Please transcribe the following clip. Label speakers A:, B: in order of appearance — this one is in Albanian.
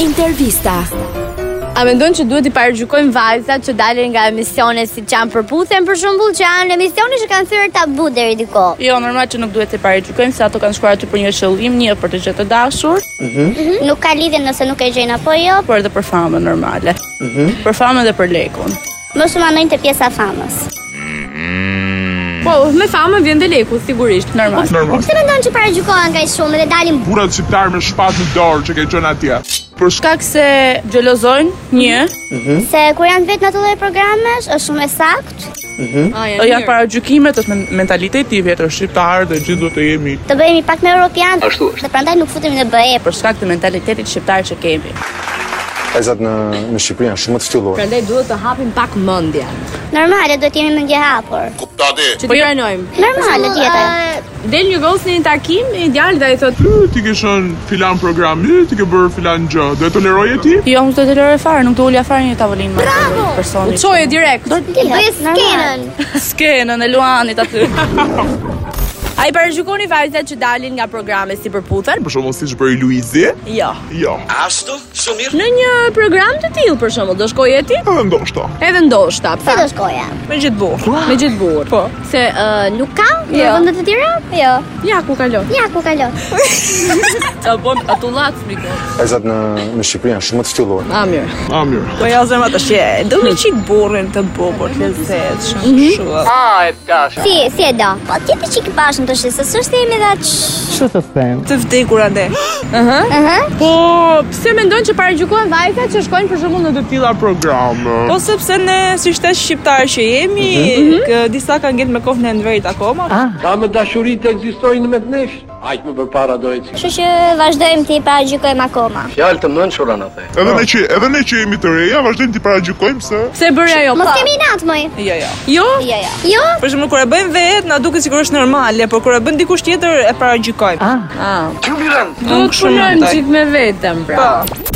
A: Intervista.
B: A mendon që duhet i parajgjykojmë vajzat që dalin nga emisione si që janë përputhen për shembull që janë emisione që kanë thyer tabu deri diku.
C: Jo, normal që nuk duhet të parajgjykojmë se ato kanë shkuar aty për një qëllim, një për të gjë të dashur,
D: Nuk ka lidhje nëse nuk e gjejnë apo jo,
C: por edhe për famën normale. Për famën dhe për lekun.
D: mos u manojnë te pjesa e famës.
B: Po, me famë vjen dhe
C: Po,
B: leku sigurisht.
C: Normal.
E: Normal.
D: Pse mendon që paragjykohen nga i shumë dhe dalin bu-
E: Burat shqiptar me shpatë në dorë që ke qenë atje. Për
C: Shkak
E: shkak
C: se xhelozojnë një,
D: se kur janë vetëm ato lloj programesh është shumë e saktë.
B: Hmm? Ai,
C: janë parajgjykimet, është men- mentaliteti i vjetër shqiptar.
E: shqiptar dhe gjithë do të jemi.
D: Të bëhemi pak më europian. Ashtu Dhe prandaj nuk futemi në BE.
C: Për shkak të mentalitetit shqiptar që kemi.
F: Vajzat në në Shqipëri janë shumë të ftyllur.
B: Prandaj duhet të hapim pak mendjen.
D: Normale duhet jemi mendje hapur.
B: Që ti pranojmë.
D: Normale tjetër.
B: Po jo. Del një gos në një takim, i djalë dhe i thotë
E: Ty ti ke shën filan program, ty ti ke bërë filan gjë. Do e toleroje ti?
C: Jo, nuk do të lërë fare, nuk do ulja fare një tavolinë me atë personin. U
B: "Çoje direkt."
D: Ti uh, bëj skenën.
C: skenën e Luanit aty.
B: Ai parajgjykoni vajzat që dalin nga programe si përputhen?
E: Për shembull siç bëri Luizi?
C: Jo.
E: Jo.
B: Në një program të tillë për shembull, do shkoje ti?
E: Edhe ndoshta.
B: Edhe ndoshta,
D: Si
B: pa,
D: do shkoja?
C: Me gjithë burë.
B: me gjithë burr. Po.
A: Se uh, nuk ka
D: Në
B: Jo.
D: vende të tjera? Jo.
B: Ja ku kalon.
D: Ja ku kalon.
B: Ta bën atullat miko.
F: Vajzat në në Shqipëri janë shumë të ftyllur.
B: A Ah, mirë.
E: A mirë.
C: Po ja zemë atë shje, do një qik burrin të bubur, lezetshëm, shumë.
D: Si si e do? Po ti ti çik bashën të shisë, s'është se jemi dhe aq.
C: Të vdekur ande.
D: Ëhë.
B: Po, pse mendon që parajgjykohen vajzat që shkojnë për shembull në
E: Të tilla programe.
G: Po sepse ne si shtesh shqiptar që jemi, kë disa kanë ngjitur me kohën e ndrejt akoma.
H: Ka më dashurit e egzistojnë me të nesh? Ajtë më përpara dojnë si.
D: Kështu që vazhdojmë ti paragjykojmë akoma.
H: Fjallë të mënë shura në the.
E: Edhe ne që edhe ne që jemi të reja, vazhdojmë të paragjykojmë se
B: Pse bëri ajo?
D: Mos kemi natë më.
G: Jo, jo.
B: Jo,
D: Jo, jo. Jo,
G: Për shembull kur e bëjmë vetë, na duket sikur është normale, por kur e bën dikush tjetër e paragjykojmë. Ah.
B: do të punojmë çik me vetëm pra.
G: Po.